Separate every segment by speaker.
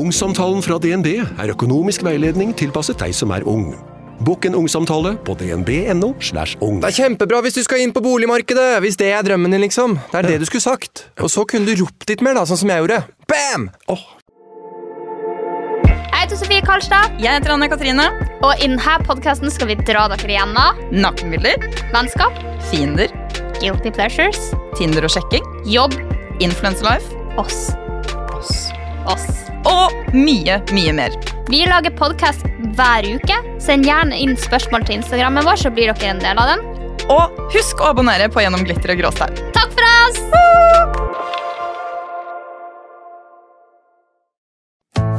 Speaker 1: Ungsamtalen fra DNB er økonomisk veiledning tilpasset deg som er ung. Bokk en ungsamtale på dnb.no. slash ung.
Speaker 2: Det er kjempebra hvis du skal inn på boligmarkedet, hvis det er drømmen din, liksom. Det er det du skulle sagt. Og så kunne du ropt litt mer, da, sånn som jeg gjorde. Bam! Åh,
Speaker 3: Jeg heter Sofie Karlstad,
Speaker 4: Jeg heter Anne Katrine.
Speaker 3: og i denne podkasten skal vi dra dere igjennom
Speaker 4: Nakenbilder,
Speaker 3: vennskap,
Speaker 4: fiender,
Speaker 3: guilty pleasures,
Speaker 4: Tinder og sjekking,
Speaker 3: jobb,
Speaker 4: influencerlife
Speaker 3: oss. Oss. Oss.
Speaker 4: og mye, mye mer.
Speaker 3: Vi lager podkast hver uke. Send gjerne inn spørsmål til Instagrammen vår, så blir dere en del av den.
Speaker 4: Og husk å abonnere på Gjennom glitter og gråstein.
Speaker 3: Takk for oss!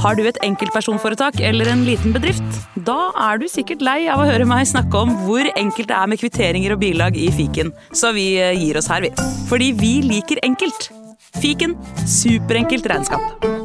Speaker 5: Har du et enkeltpersonforetak eller en liten bedrift? Da er du sikkert lei av å høre meg snakke om hvor enkelt det er med kvitteringer og bilag i fiken, så vi eh, gir oss her, vi. Fordi vi liker enkelt. Fiken superenkelt regnskap.